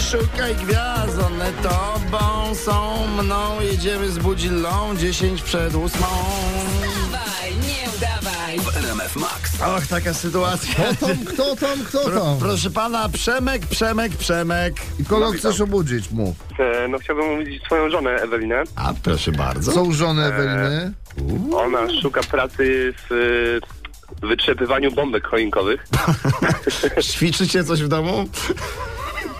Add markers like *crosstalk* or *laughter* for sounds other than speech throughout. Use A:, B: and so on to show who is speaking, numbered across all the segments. A: szukaj gwiazd, one tobą są mną. Jedziemy z budzillą, 10 przed ósmą.
B: Dawaj, nie udawaj.
C: RMF Max.
A: Och, taka sytuacja.
D: Kto tam, kto tam, kto tam?
A: Proszę pana, Przemek, Przemek, Przemek.
D: I kogo chcesz obudzić, mów.
E: E, No chciałbym umówić swoją żonę Ewelinę.
A: A proszę bardzo.
D: Są żony Eweliny.
E: Ona szuka pracy w e, wytrzepywaniu bombek choinkowych.
A: Ćwiczycie coś w domu?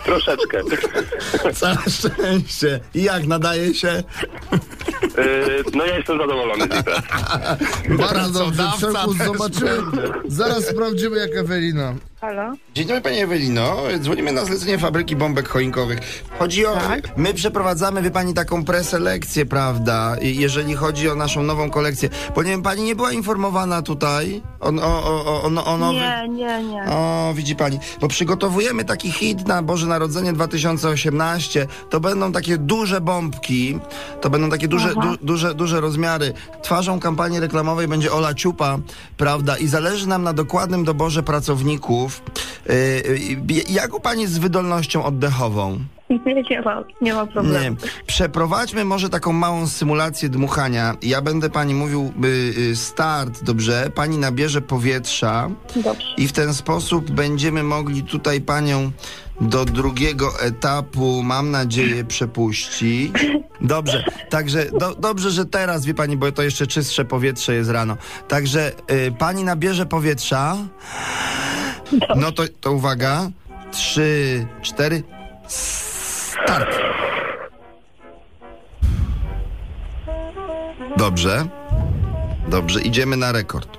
E: Troszeczkę.
D: Tak.
A: Całe szczęście. I jak nadaje się?
E: E, No ja jestem zadowolony z tej pracy.
D: Bardzo dobrze,
A: Pracodawca
D: Przemku,
A: też
D: zobaczymy. Zaraz sprawdzimy, jak Ewelina.
F: Halo?
A: Dzień dobry Pani Ewelino, dzwonimy na zlecenie fabryki bombek choinkowych. Chodzi o... My przeprowadzamy, wie Pani, taką preselekcję, prawda, i- jeżeli chodzi o naszą nową kolekcję. Bo nie wiem, Pani nie była informowana tutaj o, o, o, o, o, o nowych...
F: Nie, nie, *laughs* nie.
A: O, widzi pani, bo przygotowujemy taki hit na Boże Narodzenie 2018. To będą takie duże bombki, to będą takie duże, du, duże, duże rozmiary. Twarzą kampanii reklamowej będzie Ola Ciupa, prawda? I zależy nam na dokładnym doborze pracowników. Yy, yy, jak u pani z wydolnością oddechową?
F: Nie ma, nie ma
A: Nie.
F: problemu.
A: Przeprowadźmy może taką małą symulację dmuchania. Ja będę pani mówił y, y, start, dobrze? Pani nabierze powietrza.
F: Dobrze.
A: I w ten sposób będziemy mogli tutaj panią do drugiego etapu, mam nadzieję, przepuścić. Dobrze, także do, dobrze, że teraz wie pani, bo to jeszcze czystsze powietrze jest rano. Także y, pani nabierze powietrza. No to, to uwaga. Trzy, cztery. Start. Dobrze. Dobrze, idziemy na rekord.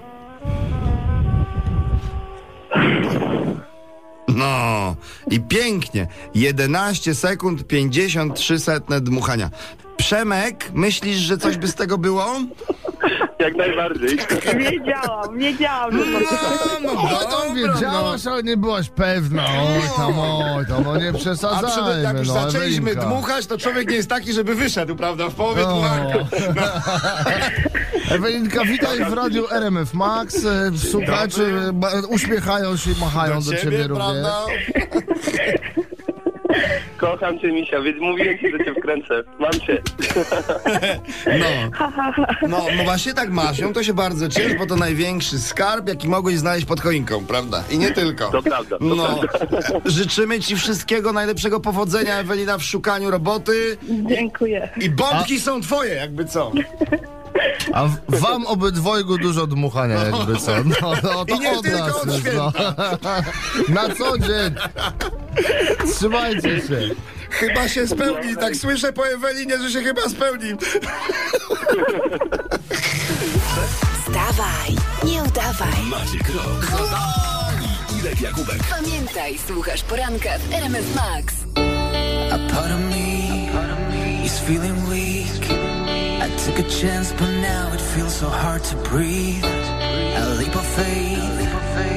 A: No i pięknie. 11 sekund 53 setne dmuchania. Przemek, myślisz, że coś by z tego było?
E: Jak najbardziej.
F: Wiedziałam, wiedziałam. że to-
A: no,
D: No, wiedziałaś, ale nie byłaś pewna. Oj, tam, oj, tam, no nie
G: A przy,
D: przesadzajmy.
G: jak już
D: no,
G: zaczęliśmy
D: Ewelinka.
G: dmuchać, to człowiek nie jest taki, żeby wyszedł, prawda? W połowie
A: *laughs*
D: No.
G: dmuchania.
D: Ewelinka, witaj w radiu RMF Max. E, Słuchacze e, ma- uśmiechają się i machają do, ciebie, również.
G: prawda?
E: Kocham cię, Misia, więc mówiłem ci, że cię wkręcę. Mam cię.
A: No. No, no właśnie tak masz. Ją to się bardzo ciesz, bo to największy skarb, jaki mogłeś znaleźć pod choinką, prawda? I nie tylko.
E: To tak, prawda. To
A: No,
E: prawda.
A: życzymy ci wszystkiego najlepszego powodzenia, Ewelina, w szukaniu roboty.
F: *laughs* Dziękuję.
G: I bombki są twoje, jakby co.
D: A w- wam obydwojgu dużo dmuchania jakby co. No, no to
G: I nie
D: od
G: tylko
D: nas
G: od
D: jest, no. *laughs* Na co dzień. Trzymajcie się.
G: Chyba się spełni. Tak słyszę po Ewelinie, że się chyba spełni.
B: Wstawaj, nie udawaj.
C: Maciek Rok. I Irek Jakubek.
B: Pamiętaj, słuchasz poranka w RMF Max.
H: A part of me is feeling weak. I took a chance, but now it feels so hard to breathe. A leap of faith,